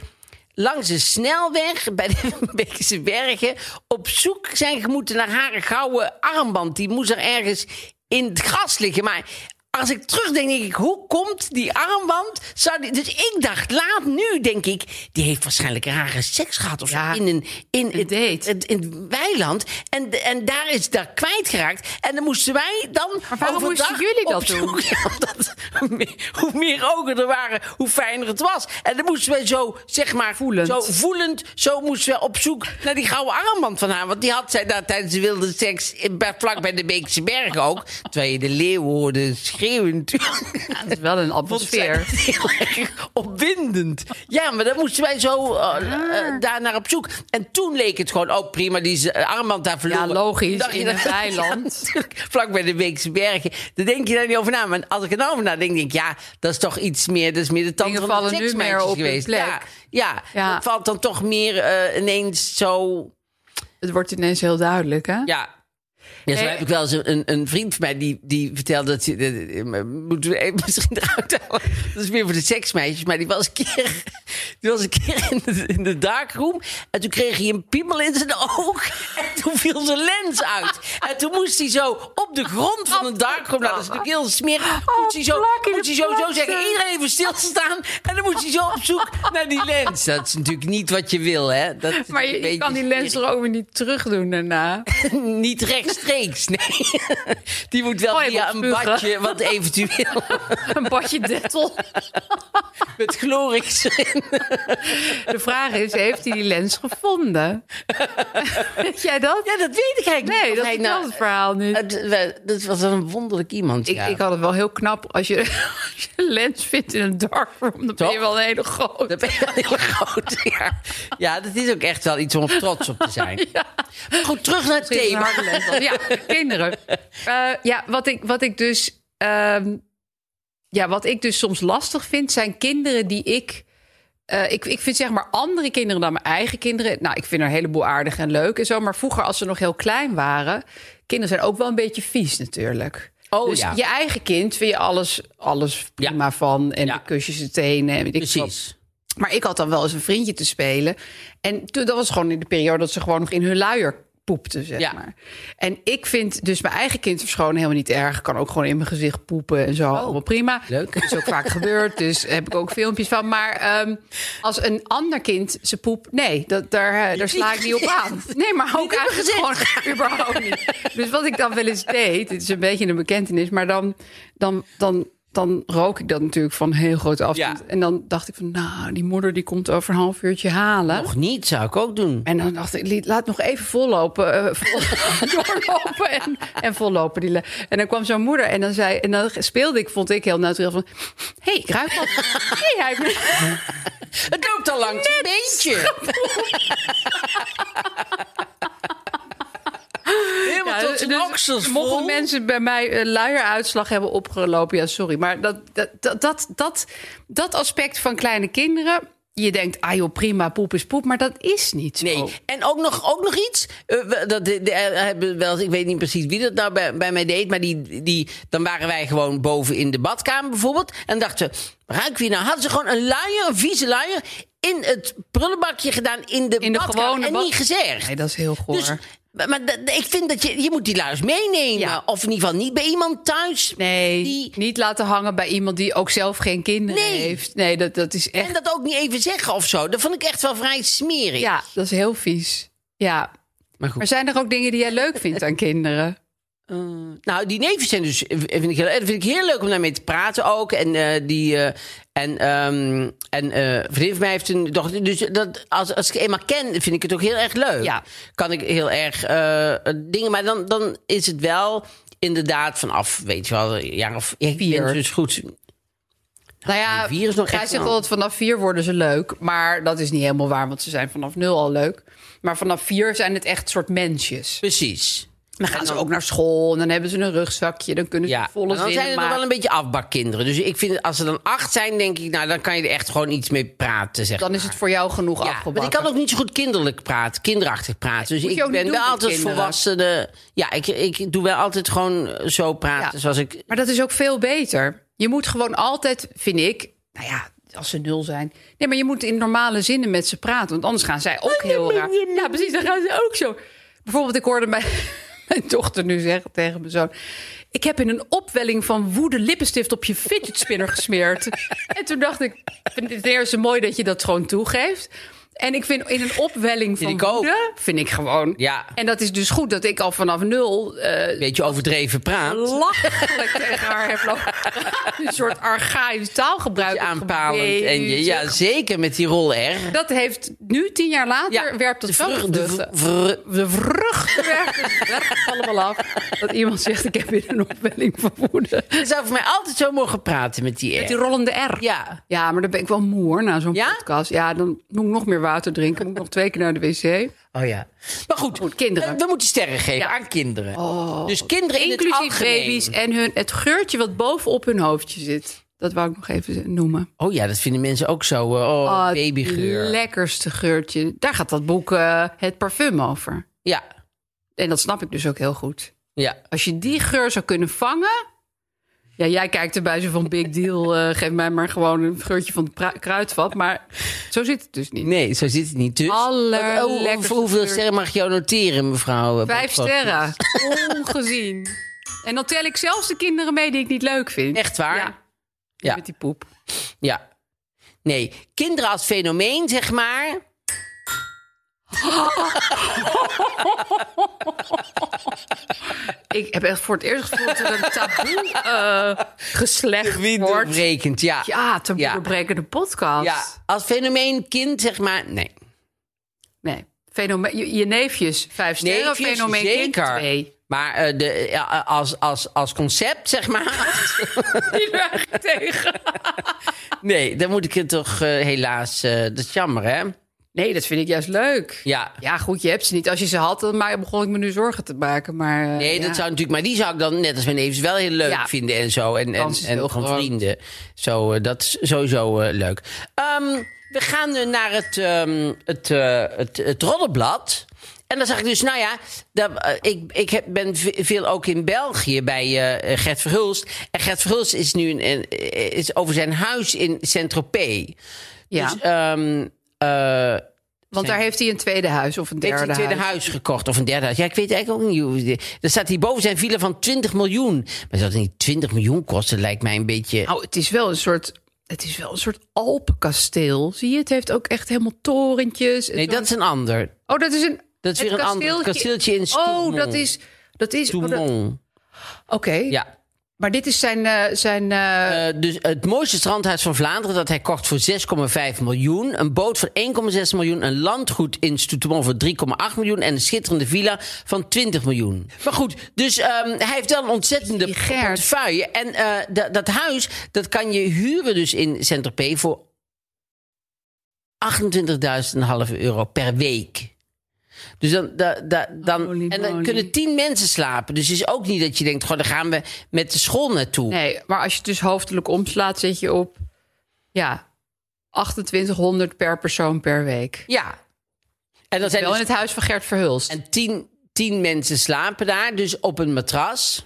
langs een snelweg bij de Beekse Bergen... op zoek zijn gemoeten naar haar gouden armband. Die moest er ergens in het gras liggen, maar... Als ik terugdenk, denk ik, hoe komt die armband? Zou die, dus ik dacht, laat nu, denk ik. Die heeft waarschijnlijk rare seks gehad of Ja. zo. In een, in, Een het- date. het- in het weiland. En, en daar is daar kwijtgeraakt. En dan moesten wij dan. Maar waarom overdag moesten jullie dat op zoek- doen? Ja, omdat hoe meer- hoe meer ogen er waren, hoe fijner het was. En dan moesten wij zo, zeg maar, Voelend. Zo voelend, zo moesten we op zoek naar die gouden armband van haar. Want die had zij daar tijdens de wilde seks. in- bij- vlak bij de Beekse Bergen ook. Terwijl je de leeuwen hoorde schreeuwen. natuurlijk. Het is wel Vond een zij atmosfeer. dat heel erg opwindend. Ja, maar dan moesten wij zo eh, Ah. eh, daar naar op zoek. En toen leek het gewoon, oh prima, die is- eh, armband daar verloren. Ja, logisch, Toen dacht je in dan- een weiland. Ja, natuurlijk, vlak bij de Beekse Bergen. Daar denk je daar niet over na. Maar als ik er nou over nadenk, denk ik, ja, dat is toch iets meer... Dat is meer de tand Dingen van de vallen nu meer seksmeisjes op hun geweest. plek. Ja, ja, Ja. dat valt dan toch meer eh, ineens zo... Het wordt ineens heel duidelijk, hè? Ja. Ja, zo Hey. heb ik wel eens een- een, een vriend van mij die, die vertelde dat hij. dat- dat- Moeten we even misschien eruit halen? Dat is meer voor de seksmeisjes. Maar die was een keer, die was een keer in, de, in de darkroom. En toen kreeg hij een piemel in zijn oog. En toen viel zijn lens uit. En toen moest hij zo op de grond van een darkroom. Nou, dat is natuurlijk heel smerig. Moest hij zo, Oh, plak in de moest hij zo, zo plak, zeggen: zeg. iedereen even stilstaan. En dan moest hij zo op zoek naar die lens. Dat is natuurlijk niet wat je wil, hè? Dat is Maar een je, je beetje kan die lens er ook weer niet terugdoen daarna. niet rechtstreeks, nee. Die moet wel Oh, je via moet een spugen. badje, wat eventueel Een badje dettel. met Glorix erin. De vraag is, heeft hij die lens gevonden? Weet jij dat? Ja, dat weet ik eigenlijk nee, niet. dat Of hij is nou- het verhaal niet. Het- we- Dat was een wonderlijk iemand, ik, ja. ik had het wel heel knap. Als je, als je een lens vindt in een darkroom, dan ben Toch? je wel een hele grote. Dat ben je wel heel groot, ja. Ja, dat is ook echt wel iets om trots op te zijn. Maar goed, terug naar het Misschien thema. is het een harde lens dan. Ja, kinderen. Eh, ja, wat ik, wat ik dus. ehm, ja, wat ik dus soms lastig vind, zijn kinderen die ik. eh, ik, ik vind zeg maar andere kinderen dan mijn eigen kinderen. Nou, ik vind er een heleboel aardig en leuk en zo. Maar vroeger, als ze nog heel klein waren. Kinderen zijn ook wel een beetje vies natuurlijk. Oh, dus ja. je eigen kind vind je alles, alles Ja. prima van. En Ja. de kusjes, de tenen en weet ik wat. Precies. Maar ik had dan wel eens een vriendje te spelen. En toen, dat was gewoon in de periode dat ze gewoon nog in hun luier poepte, zeg Ja. maar. En ik vind dus mijn eigen kind verschonen helemaal niet erg. Kan ook gewoon in mijn gezicht poepen en zo. Allemaal prima. Oh, leuk. Dat is ook vaak gebeurd, dus heb ik ook filmpjes van. Maar ehm, als een ander kind ze poep... Nee, dat, daar, eh, daar sla ik niet op aan. Nee, maar ook eigenlijk gewoon überhaupt niet. Dus wat ik dan wel eens deed... Dit is een beetje een bekentenis, maar dan... dan, dan dan rook ik dat natuurlijk van heel groot afstand. Ja. En dan dacht ik van, nou, die moeder die komt over een half uurtje halen. Nog niet, zou ik ook doen. En dan dacht ik, liet- laat nog even vollopen. eh, vol- doorlopen en, en vollopen. Die le- en dan kwam zo'n moeder en dan, zei, en dan speelde ik, vond ik heel natuurlijk van... Hé, hey, ik ruik wat. Hé, hij heeft me- Het loopt al lang een beetje. Helemaal Ja, tot zijn dus oksels vol. Mochten mensen bij mij een luieruitslag hebben opgelopen, ja, sorry. Maar dat, dat, dat, dat, dat, dat aspect van kleine kinderen... Je denkt, ah joh, prima, poep is poep. Maar dat is niet zo. Nee, en ook nog, ook nog iets. Eh, we- dat, de, de- eh, hebben we wel, eens- ik weet niet precies wie dat nou bij, bij mij deed. Maar die, die, dan waren wij gewoon boven in de badkamer bijvoorbeeld. En dachten we, ruik wie nou? Hadden ze gewoon een luier, een vieze luier in het prullenbakje gedaan in de, In de badkamer gewone en bad- niet gezegd. Nee, dat is heel goor. Dus, maar maar dat- ik vind dat je, je moet die luis meenemen. Ja. Of in ieder geval niet bij iemand thuis. nee, die- niet laten hangen bij iemand die ook zelf geen kinderen Nee. heeft. Nee, dat, dat is echt... En dat ook niet even zeggen of zo. Dat vond ik echt wel vrij smerig. Ja, dat is heel vies. Ja. Maar goed. Maar zijn er ook dingen die jij leuk vindt aan kinderen? Nou, die neven zijn dus, eh, vind ik heel, eh, dat vind ik heel leuk om daarmee te praten ook. En eh, die, eh, en, ehm en eh, een vriendin van mij heeft een dochter. Dus dat, als, als ik eenmaal ken, vind ik het ook heel erg leuk. Ja. Kan ik heel erg eh, dingen, maar dan, dan is het wel inderdaad vanaf, weet je wel, een jaar of ja, ik Vier. ben dus goed. Nou ja, nee, vier is nog jij echt zegt lang. altijd vanaf vier worden ze leuk. Maar dat is niet helemaal waar, want ze zijn vanaf nul al leuk. Maar vanaf vier zijn het echt soort mensjes. Precies. Dan gaan ze ook naar school en dan hebben ze een rugzakje. Dan kunnen ze Ja, Dus volle en dan zin zijn er nog maken. wel een beetje afbakkinderen. Dus ik vind, als ze dan acht zijn, denk ik, nou, dan kan je er echt gewoon iets mee praten, zeg Dan is het voor jou genoeg Ja, afgebakken. want ik kan ook niet zo goed kinderlijk praten, kinderachtig praten. Dus Moet je ik ook niet ben doen wel met altijd kinderen. volwassene. Ja, ik, ik doe wel altijd gewoon zo praten Ja. zoals ik. Maar dat is ook veel beter. Je moet gewoon altijd, vind ik, nou ja, als ze nul zijn. Nee, maar je moet in normale zinnen met ze praten. Want anders gaan zij ook heel raar. Ja, precies, dan gaan ze ook zo. Bijvoorbeeld, ik hoorde mijn, mijn dochter nu zeggen tegen mijn zoon... Ik heb in een opwelling van woede lippenstift op je fidget spinner gesmeerd. en toen dacht ik, ik vind het ten eerste mooi dat je dat gewoon toegeeft. En ik vind in een opwelling van ik ook. woede, vind ik gewoon. Ja. En dat is dus goed dat ik al vanaf nul eh, Een beetje overdreven praat. belachelijk tegen haar heb lopen praten. Een soort archaïsch taalgebruik. Aanpalend. En je, ja, zeker met die rol R. Dat heeft nu, tien jaar later, Ja, werpt de het vrucht- wel de vruchten. vr- De vruchten werpt het allemaal af. Dat iemand zegt, ik heb weer een opwelling van woede. Ze zou voor mij altijd zo mogen praten met die R. Die rollende R. Ja. Ja, maar dan ben ik wel moe hoor, na zo'n Ja? podcast. Ja, dan moet ik nog meer water drinken. Moet ik nog twee keer naar de wc. Oh ja. Maar goed, Goed, kinderen. Oh. eh, we moeten sterren geven aan kinderen. dus kinderen in het Inclusief algemeen. baby's en hun, het geurtje wat bovenop hun hoofdje zit. Dat wou ik nog even noemen. Oh ja, dat vinden mensen ook zo. eh, oh, Oh, het babygeur. lekkerste geurtje. Daar gaat dat boek eh, Het Parfum over. Ja, En dat snap ik dus ook heel goed. ja. Als je die geur zou kunnen vangen... Ja, jij kijkt erbij zo van big deal. eh, geef mij maar gewoon een geurtje van het pra- kruidvat. Maar zo zit het dus niet. Nee, zo zit het niet. Dus. Allerlekkerste Oh, hoe- hoeveel kleur. sterren mag je noteren, mevrouw? eh, Vijf Botgod? sterren. Ongezien. En dan tel ik zelfs de kinderen mee die ik niet leuk vind. Echt waar? Ja. Ja. Met die poep. Ja. Nee, kinderen als fenomeen, zeg maar. Ik heb echt voor het eerst gevoeld dat er een taboe eh, geslecht wordt. Rekent, ja. Ja, te Ja. doorbrekende podcast. Ja, Als fenomeen kind, zeg maar. Nee. Nee. Fenomeen, je, je neefjes, vijf sterren, Neefjes, fenomeen zeker. kind twee. Maar eh, de, ja, als, als, als concept, zeg maar. Die werk tegen. Nee, dan moet ik het toch eh, helaas. eh, dat is jammer, hè? Nee, dat vind ik juist leuk. Ja. Ja, goed, je hebt ze niet. Als je ze had, dan ma- begon ik me nu zorgen te maken. Maar, eh, Nee, ja. dat zou natuurlijk. Maar die zou ik dan net als mijn neefjes wel heel leuk Ja. vinden en zo. En, en, Kans is en heel van groot. vrienden. Zo, eh, dat is sowieso eh, leuk. Ehm, we gaan nu naar het, ehm het, eh, het, het roddelblad. En dan zag ik dus, nou ja, dat, eh, ik, ik heb, ben ve- veel ook in België bij eh Gert Verhulst. En Gert Verhulst is nu een, een- is over zijn huis in Saint-Tropez. Ja, Dus, ehm, eh, want daar heeft hij een tweede huis of een heeft derde hij een tweede huis. huis. gekocht of een derde huis. Ja, ik weet eigenlijk ook niet. hoe die- Er staat hier boven zijn villa van 20 miljoen. Maar zou het niet 20 miljoen kosten? Lijkt mij een beetje. Nou, het is wel een soort... Het is wel een soort Alpenkasteel. Zie je, het heeft ook echt helemaal torentjes. en nee, zo. dat is een ander. Oh, dat is een... Dat is het weer een ander. Het kasteeltje in Oh, Stoemon. dat is... Dat is... oh, dat- Toemon. Oké. Ja. Maar dit is zijn... eh, zijn eh, Eh, dus het mooiste strandhuis van Vlaanderen dat hij kocht voor 6,5 miljoen. Een boot voor 1,6 miljoen. Een landgoed in Stoetemon voor 3,8 miljoen. En een schitterende villa van 20 miljoen. Maar goed, dus ehm, hij heeft wel een ontzettende Die Gert. portefeuille. En eh, dat- dat huis, dat kan je huren dus in Saint-Tropez voor 28.500 euro per week. Dus dan, da, da- dan, Holy en dan moly. kunnen 10 mensen slapen. Dus het is ook niet dat je denkt, goh, daar gaan we met de school naartoe. Nee, maar als je het dus hoofdelijk omslaat, zit je op ja, 2800 per persoon per week. Ja. En dan zijn Wel in dus, het huis van Gert Verhulst. en tien, tien mensen slapen daar, dus op een matras.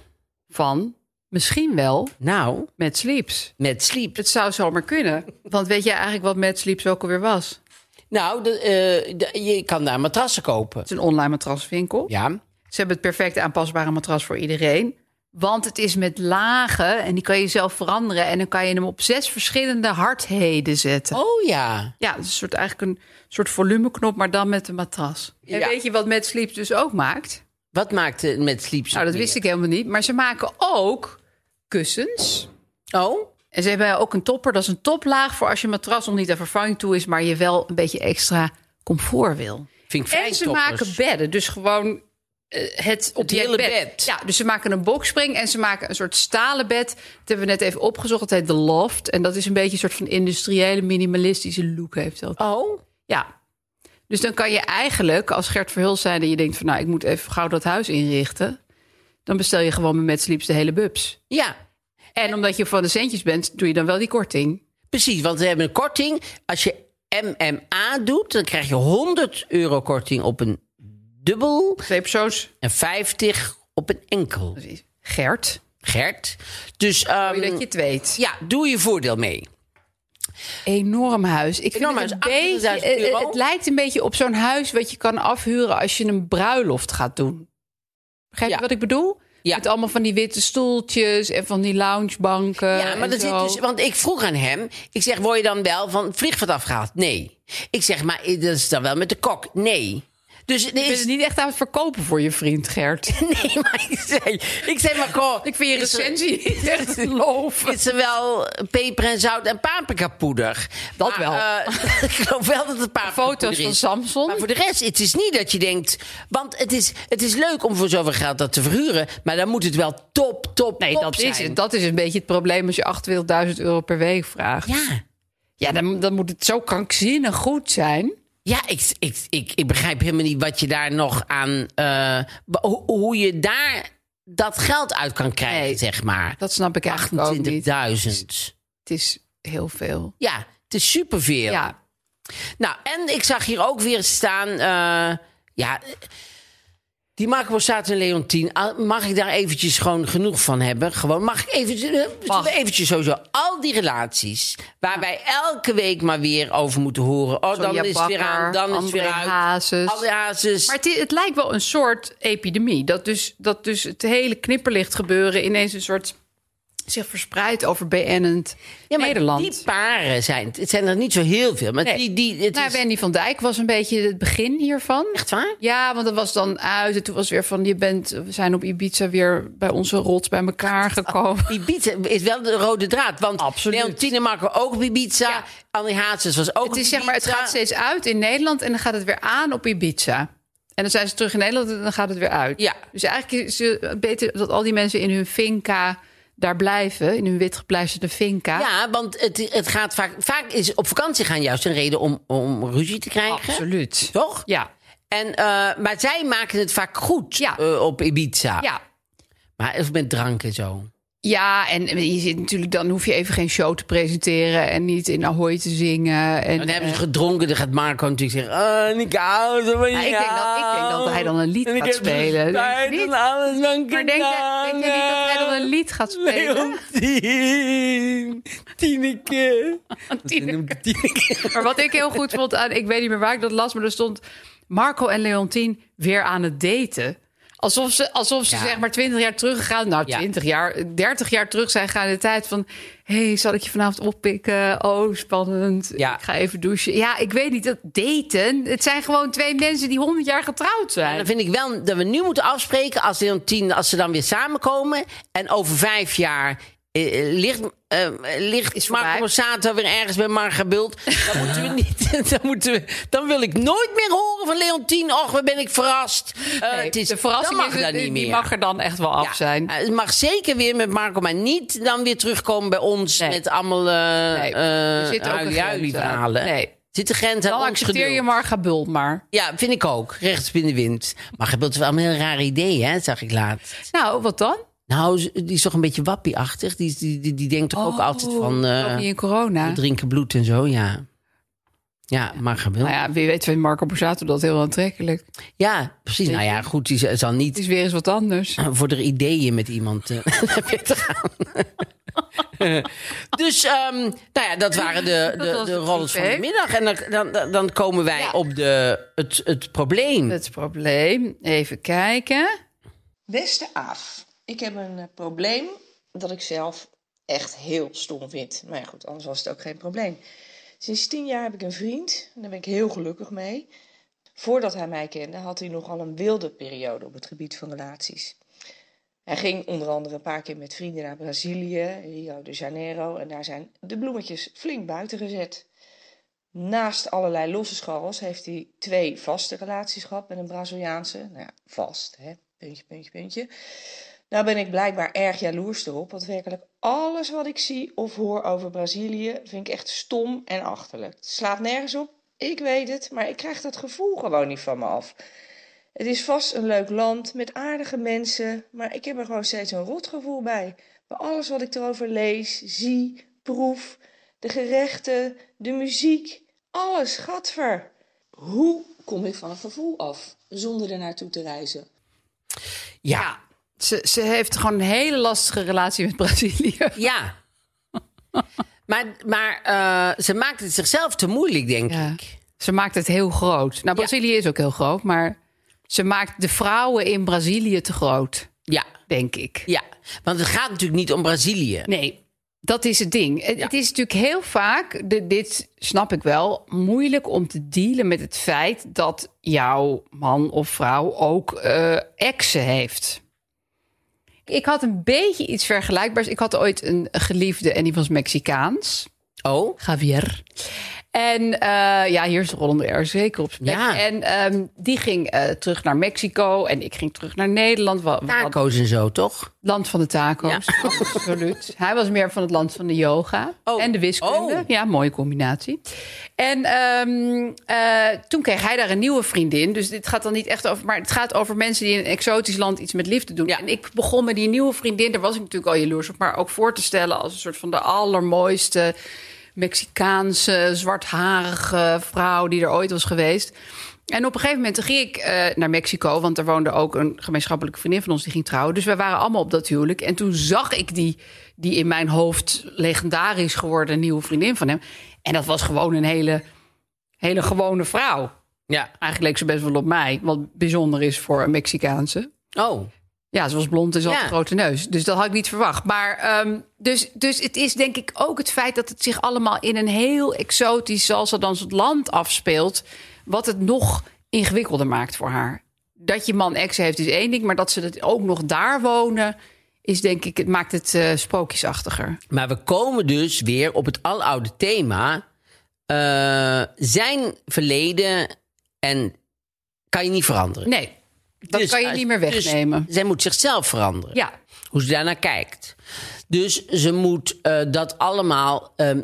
Van misschien wel Nou, met Sleeps. met sleep. Het zou zomaar kunnen. Want weet jij eigenlijk wat met Sleeps ook alweer was? Nou, de, eh, de- je kan daar matrassen kopen. Het is een online matraswinkel. Ja. Ze hebben het perfecte aanpasbare matras voor iedereen. Want het is met lagen en die kan je zelf veranderen. En dan kan je hem op zes verschillende hardheden zetten. Oh ja. Ja, dus een soort, eigenlijk een soort volumeknop, maar dan met een matras. En Ja. weet je wat Mad Sleep dus ook maakt? Wat maakt het met Sleep Nou, dat wist ik helemaal niet. Maar ze maken ook kussens. Oh? En ze hebben ook een topper. Dat is een toplaag voor als je matras nog niet aan vervanging toe is... maar je wel een beetje extra comfort wil. Vind ik fijn, En ze toppers. maken bedden. Dus gewoon eh, het object hele bed. Ja, dus ze maken een boxspring en ze maken een soort stalen bed. Dat hebben we net even opgezocht. Dat heet de loft. En dat is een beetje een soort van industriële, minimalistische look heeft dat. Oh? Ja. Dus dan kan je eigenlijk, als Gert Verhul zijn... en je denkt van nou, ik moet even gauw dat huis inrichten... dan bestel je gewoon met Mad Sleeps de hele bubs. Ja. En omdat je van de centjes bent, doe je dan wel die korting. Precies, want we hebben een korting. Als je MMA doet, dan krijg je 100 euro korting op een dubbel Twee persoons. en 50 op een enkel. Gert, Gert. Dus ehm, dat je het weet. ja, doe je voordeel mee. Enorm huis. Ik vind Enorm het, huis, een beetje, 38.000 eh, euro. het lijkt een beetje op zo'n huis wat je kan afhuren als je een bruiloft gaat doen. Begrijp je Ja. wat ik bedoel? Ja. Met allemaal van die witte stoeltjes en van die loungebanken. Ja, maar Eh, en dat zit zo. dus. Want ik vroeg aan hem. Ik zeg: Word je dan wel van vliegveld afgehaald? Nee. Ik zeg: Maar eh, dat is dan wel met de kok? Nee. Dus er Je bent is. het niet echt aan het verkopen voor je vriend, Gert. Nee, maar ik zei: Ik zeg maar goh, Ik vind je is er- recensie niet echt geloof. Is er wel peper en zout en paprikapoeder? Dat wel. Maar, eh, ik geloof wel dat het paprikapoeder Foto's van is. Samson. Maar voor de rest, het is niet dat je denkt... Want het is, het is leuk om voor zoveel geld dat te verhuren... maar dan moet het wel top, top, Nee, top dat zijn. is, het. dat is een beetje het probleem als je 28.000 euro per week vraagt. Ja, Ja, dan, dan moet het zo krankzinnig goed zijn. ja ik, ik, ik, ik begrijp helemaal niet wat je daar nog aan... eh, hoe, hoe je daar dat geld uit kan krijgen, Nee, zeg maar. Dat snap ik eigenlijk ook niet. 28.000. Het is heel veel. Ja, het is superveel. Ja, Nou, en ik zag hier ook weer staan. eh, ja. Die Marco Borsato en Leontien. ah, Mag ik daar eventjes gewoon genoeg van hebben? Gewoon, mag ik eventjes, eh, Mag. eventjes sowieso al die relaties. Waar wij elke week maar weer over moeten horen. Oh, dan Sonja is het weer Bakker, aan, dan is het weer André uit. Hazes. André Hazes. maar het, i- het lijkt wel een soort epidemie. Dat dus, dat dus het hele knipperlicht gebeuren ineens een soort zich verspreidt over BN'end Ja, maar Nederland. die paren zijn... Het zijn er niet zo heel veel. Maar Nee. die, die, het nou, is Wendy van Dijk was een beetje het begin hiervan. echt waar. Ja, want dat was dan uit. En toen was weer van, je bent, we zijn op Ibiza weer bij onze rots bij elkaar gekomen. Ibiza is wel de rode draad. Want Absoluut. Leontine Marco ook op Ibiza. André Hazes was ook Het is zeg maar, het gaat steeds. steeds uit in Nederland en dan gaat het weer aan op Ibiza. En dan zijn ze terug in Nederland en dan gaat het weer uit. Ja. Dus eigenlijk is het beter dat al die mensen in hun finca daar blijven, in hun wit gepleisterde finca. Ja, want het, het gaat vaak. Vaak is op vakantie gaan juist een reden om, om ruzie te krijgen. Absoluut. Toch? Ja. En, eh, maar zij maken het vaak goed Ja. eh, op Ibiza. Ja. Maar of met drank en zo. Ja, en je zit natuurlijk, dan hoef je even geen show te presenteren en niet in Ahoy te zingen. En, En Oh, dan hebben ze eh, gedronken. Dan gaat Marco natuurlijk zeggen. Oh, ik hou zo van ik denk dat- ik denk dat hij dan een lied En ik gaat heb spelen. Denk je spijt niet? van alles dan maar denk jij, denk jij niet dat hij dan een lied gaat spelen? Leontien, Tineke. Tineke. Tineke. Maar wat ik heel goed vond aan, ik weet niet meer waar ik dat las, maar er stond Marco en Leontien weer aan het daten. Alsof ze, alsof ze Ja. zeg maar 20 jaar teruggegaan, nou Ja. 20 jaar, 30 jaar terug zijn gaan in de tijd van, hé, hey, zal ik je vanavond oppikken? Oh, spannend. Ja. Ik ga even douchen. Ja, ik weet niet, dat daten, het zijn gewoon twee mensen die 100 jaar getrouwd En dan zijn. vind ik wel dat we nu moeten afspreken als Leontien, als ze dan weer samenkomen. En over vijf jaar eh, eh, ligt, eh, ligt Is voorbij. Marco Borsato weer ergens bij Marga Bult. Dan moeten we niet. Dan, moeten we, dan wil ik nooit meer horen van Leontien. Och, wat ben ik verrast. Eh, Nee, het is, de verrassing dan mag is dat het- niet die meer. mag er dan echt wel af Ja, zijn. eh, Het mag zeker weer met Marco, maar niet dan weer terugkomen bij ons Nee. met allemaal eh Nee, eh, er zit ook een huilie- grens huilie aan. verhalen. Nee. Er Zit de grens aan Dan ons accepteer geduld. je Marga Bult maar. Ja, vind ik ook. Rechts binnen wind. Maar je beeldt wel een heel raar idee, hè, zag ik laatst. Nou, wat dan? Nou, z- die is toch een beetje wappieachtig. Die, die, die, die denkt toch ook Oh, altijd van eh, Ook niet in corona. we drinken bloed en zo, ja. Ja, maar gebeeld. Nou Ja. ja, wie weet vindt Marco Borsato dat heel aantrekkelijk. precies. Nou ja, goed, die z- zal Het niet is weer eens wat anders. voor de ideeën met iemand eh, naar bed gaan. dus ehm, nou ja, dat waren de, Dat de, was de het rollers van de idee. middag. En dan, dan, dan komen wij op de, het, het probleem. Het probleem, even kijken. Beste Aaf, ik heb een eh, probleem dat ik zelf echt heel stom vind. Maar ja, goed, anders was het ook geen probleem. Sinds tien jaar heb ik een vriend en daar ben ik heel gelukkig mee. Voordat hij mij kende had hij nogal een wilde periode op het gebied van relaties. Hij ging onder andere een paar keer met vrienden naar Brazilië, Rio de Janeiro, en daar zijn de bloemetjes flink buiten gezet. Naast allerlei losse scharrels heeft hij twee vaste relaties gehad met een Braziliaanse. Nou ja, vast, hè? Puntje, puntje, puntje. Nou ben ik blijkbaar erg jaloers erop, want werkelijk alles wat ik zie of hoor over Brazilië vind ik echt stom en achterlijk. Het slaat nergens op, ik weet het, maar ik krijg dat gevoel gewoon niet van me af. Het is vast een leuk land met aardige mensen, maar ik heb er gewoon steeds een rotgevoel bij. Bij alles wat ik erover lees, zie, proef, de gerechten, de muziek, alles, gadver. Hoe kom ik van het gevoel af zonder er naartoe te reizen? Ja. Ze, ze heeft gewoon een hele lastige relatie met Brazilië. Ja. maar maar eh, ze maakt het zichzelf te moeilijk, denk Ja. ik. Ze maakt het heel groot. Nou, Brazilië is ook heel groot, maar ze maakt de vrouwen in Brazilië te groot, Ja. denk ik. Ja. Want het gaat natuurlijk niet om Brazilië. Nee, dat is het ding. Het, Ja. het is natuurlijk heel vaak, de- dit snap ik wel, moeilijk om te dealen met het feit dat jouw man of vrouw ook eh exen heeft. Ik had een beetje iets vergelijkbaars. Ik had ooit een geliefde en die was Mexicaans. Oh. Javier. En eh, ja, hier is Rollende R zeker op zijn plek. Ja. En ehm, die ging eh, terug naar Mexico en ik ging terug naar Nederland. Wa- wa- Taco's en zo, toch? Land van de taco's, Ja. absoluut. Hij was meer van het land van de yoga Oh. en de wiskunde. Oh. Ja, mooie combinatie. En ehm, eh, toen kreeg hij daar een nieuwe vriendin. Dus dit gaat dan niet echt over... maar het gaat over mensen die in een exotisch land iets met liefde doen. Ja. En ik begon met die nieuwe vriendin, daar was ik natuurlijk al jaloers op... maar ook voor te stellen als een soort van de allermooiste... Mexicaanse, zwartharige vrouw die er ooit was geweest. En op een gegeven moment ging ik eh, naar Mexico, want er woonde ook een gemeenschappelijke vriendin van ons die ging trouwen. Dus wij waren allemaal op dat huwelijk. En toen zag ik die, die in mijn hoofd legendarisch geworden nieuwe vriendin van hem. En dat was gewoon een hele, hele gewone vrouw. Ja. Eigenlijk leek ze best wel op mij, wat bijzonder is voor een Mexicaanse. Oh. Ja, ze was blond en ze had Ja. een grote neus. Dus dat had ik niet verwacht. Maar ehm, dus, dus het is denk ik ook het feit dat het zich allemaal in een heel exotisch salsa dansend land afspeelt. Wat het nog ingewikkelder maakt voor haar. Dat je man ex heeft is één ding, maar dat ze dat ook nog daar wonen. Is denk ik, het maakt het eh, sprookjesachtiger. Maar we komen dus weer op het aloude thema. eh, zijn verleden en kan je niet veranderen. Nee, dat Dus kan je als- niet meer dus wegnemen. zij moet zichzelf veranderen. ja, Hoe ze daarnaar kijkt. Dus ze moet eh, dat allemaal ehm,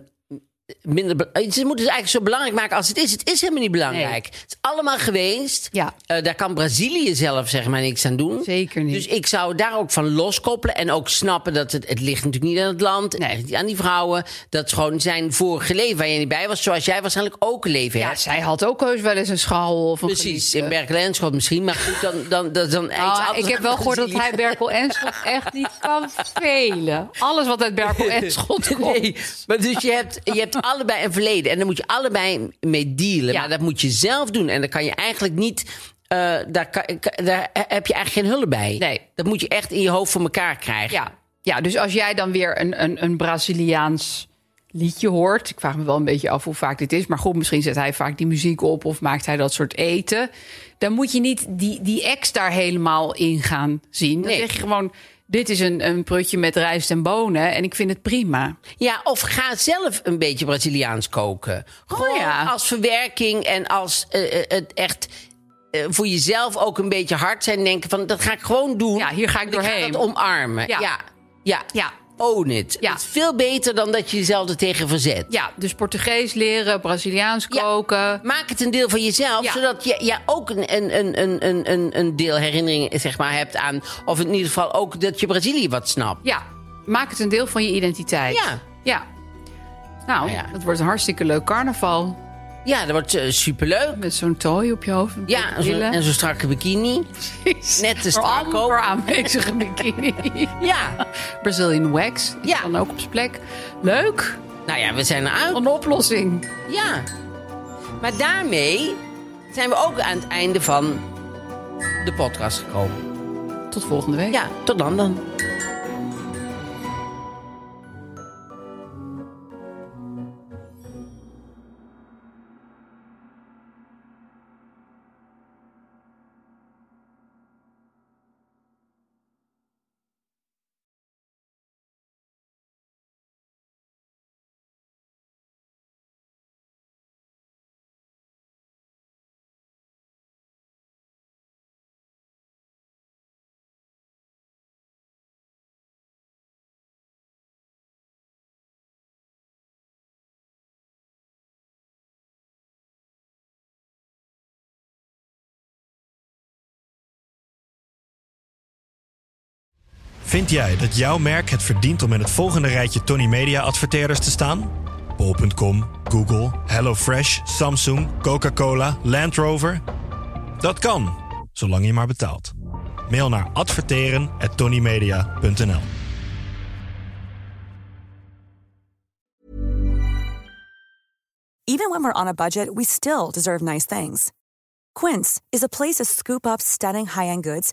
minder. be- eh, Ze moet het eigenlijk zo belangrijk maken als het is. Het is helemaal niet belangrijk. Het is allemaal geweest. Ja. Eh, daar kan Brazilië zelf zeg maar niks aan doen. Zeker niet. Dus ik zou daar ook van loskoppelen. En ook snappen dat het, het ligt natuurlijk niet aan het land. Nee. Aan die vrouwen. Dat is gewoon zijn vorige leven waar je niet bij was. Zoals jij waarschijnlijk ook een leven ja, hebt. zij had ook heus wel eens een schaal of een Precies, geliefde. in Berkel en Schot misschien. Maar goed, dan, dan, dan, dan iets Ah, anders ik heb dan wel gehoord dat Brazilië. hij Berkel en Schot echt niet kan velen. Alles wat uit Berkel en Schot komt. Nee, maar dus je hebt, je hebt allebei een verleden. En daar moet je allebei mee dealen. Ja. Maar dat moet je zelf doen. En daar kan je eigenlijk niet... eh, daar, kan- ka- daar heb je eigenlijk geen hulp bij. Nee. Dat moet je echt in je hoofd voor elkaar krijgen. Ja. ja, dus als jij dan weer een, een, een Braziliaans liedje hoort... ik vraag me wel een beetje af hoe vaak dit is... maar goed, misschien zet hij vaak die muziek op of maakt hij dat soort eten. Dan moet je niet die, die ex daar helemaal in gaan zien. Dan Nee. zeg je gewoon, dit is een, een prutje met rijst en bonen en ik vind het prima. Ja, of ga zelf een beetje Braziliaans koken. Gewoon Oh, ja. als verwerking en als eh, eh, het echt eh, voor jezelf ook een beetje hard zijn. Denken van, dat ga ik gewoon doen. Ja, hier ga ik Ik doorheen. ga dat omarmen. Ja. Ja. ja. Ja. Own it. Ja. Het is veel beter dan dat je jezelf er tegen verzet. Ja, dus Portugees leren, Braziliaans Ja. koken. Maak het een deel van jezelf, Ja. zodat je, ja, ook een, een, een- een, een, een, een deel herinnering zeg maar, hebt aan... of in ieder geval ook dat je Brazilië wat snapt. Ja, maak het een deel van je identiteit. Ja. ja. Nou, Nou ja. het wordt een hartstikke leuk carnaval. Ja, dat wordt eh, superleuk. Met zo'n tooi op je hoofd. en Ja, en zo'n brillen. en zo'n strakke bikini. Precies. Net te Voor strak amper ook. aanwezige bikini. Ja. Brazilian wax is Ja. dan ook op zijn plek. Leuk. Nou ja, we zijn eruit. Een oplossing. Ja. Maar daarmee zijn we ook aan het einde van de podcast gekomen. Tot volgende week. Ja, tot dan dan. Vind jij dat jouw merk het verdient om in het volgende rijtje Tony Media adverteerders te staan? Bol.com, Google, HelloFresh, Samsung, Coca-Cola, Land Rover? Dat kan, zolang je maar betaalt. Mail naar adverteren@tonymedia.nl. Even when we're on a budget, we still deserve nice things. Quince is a place to scoop up stunning high end goods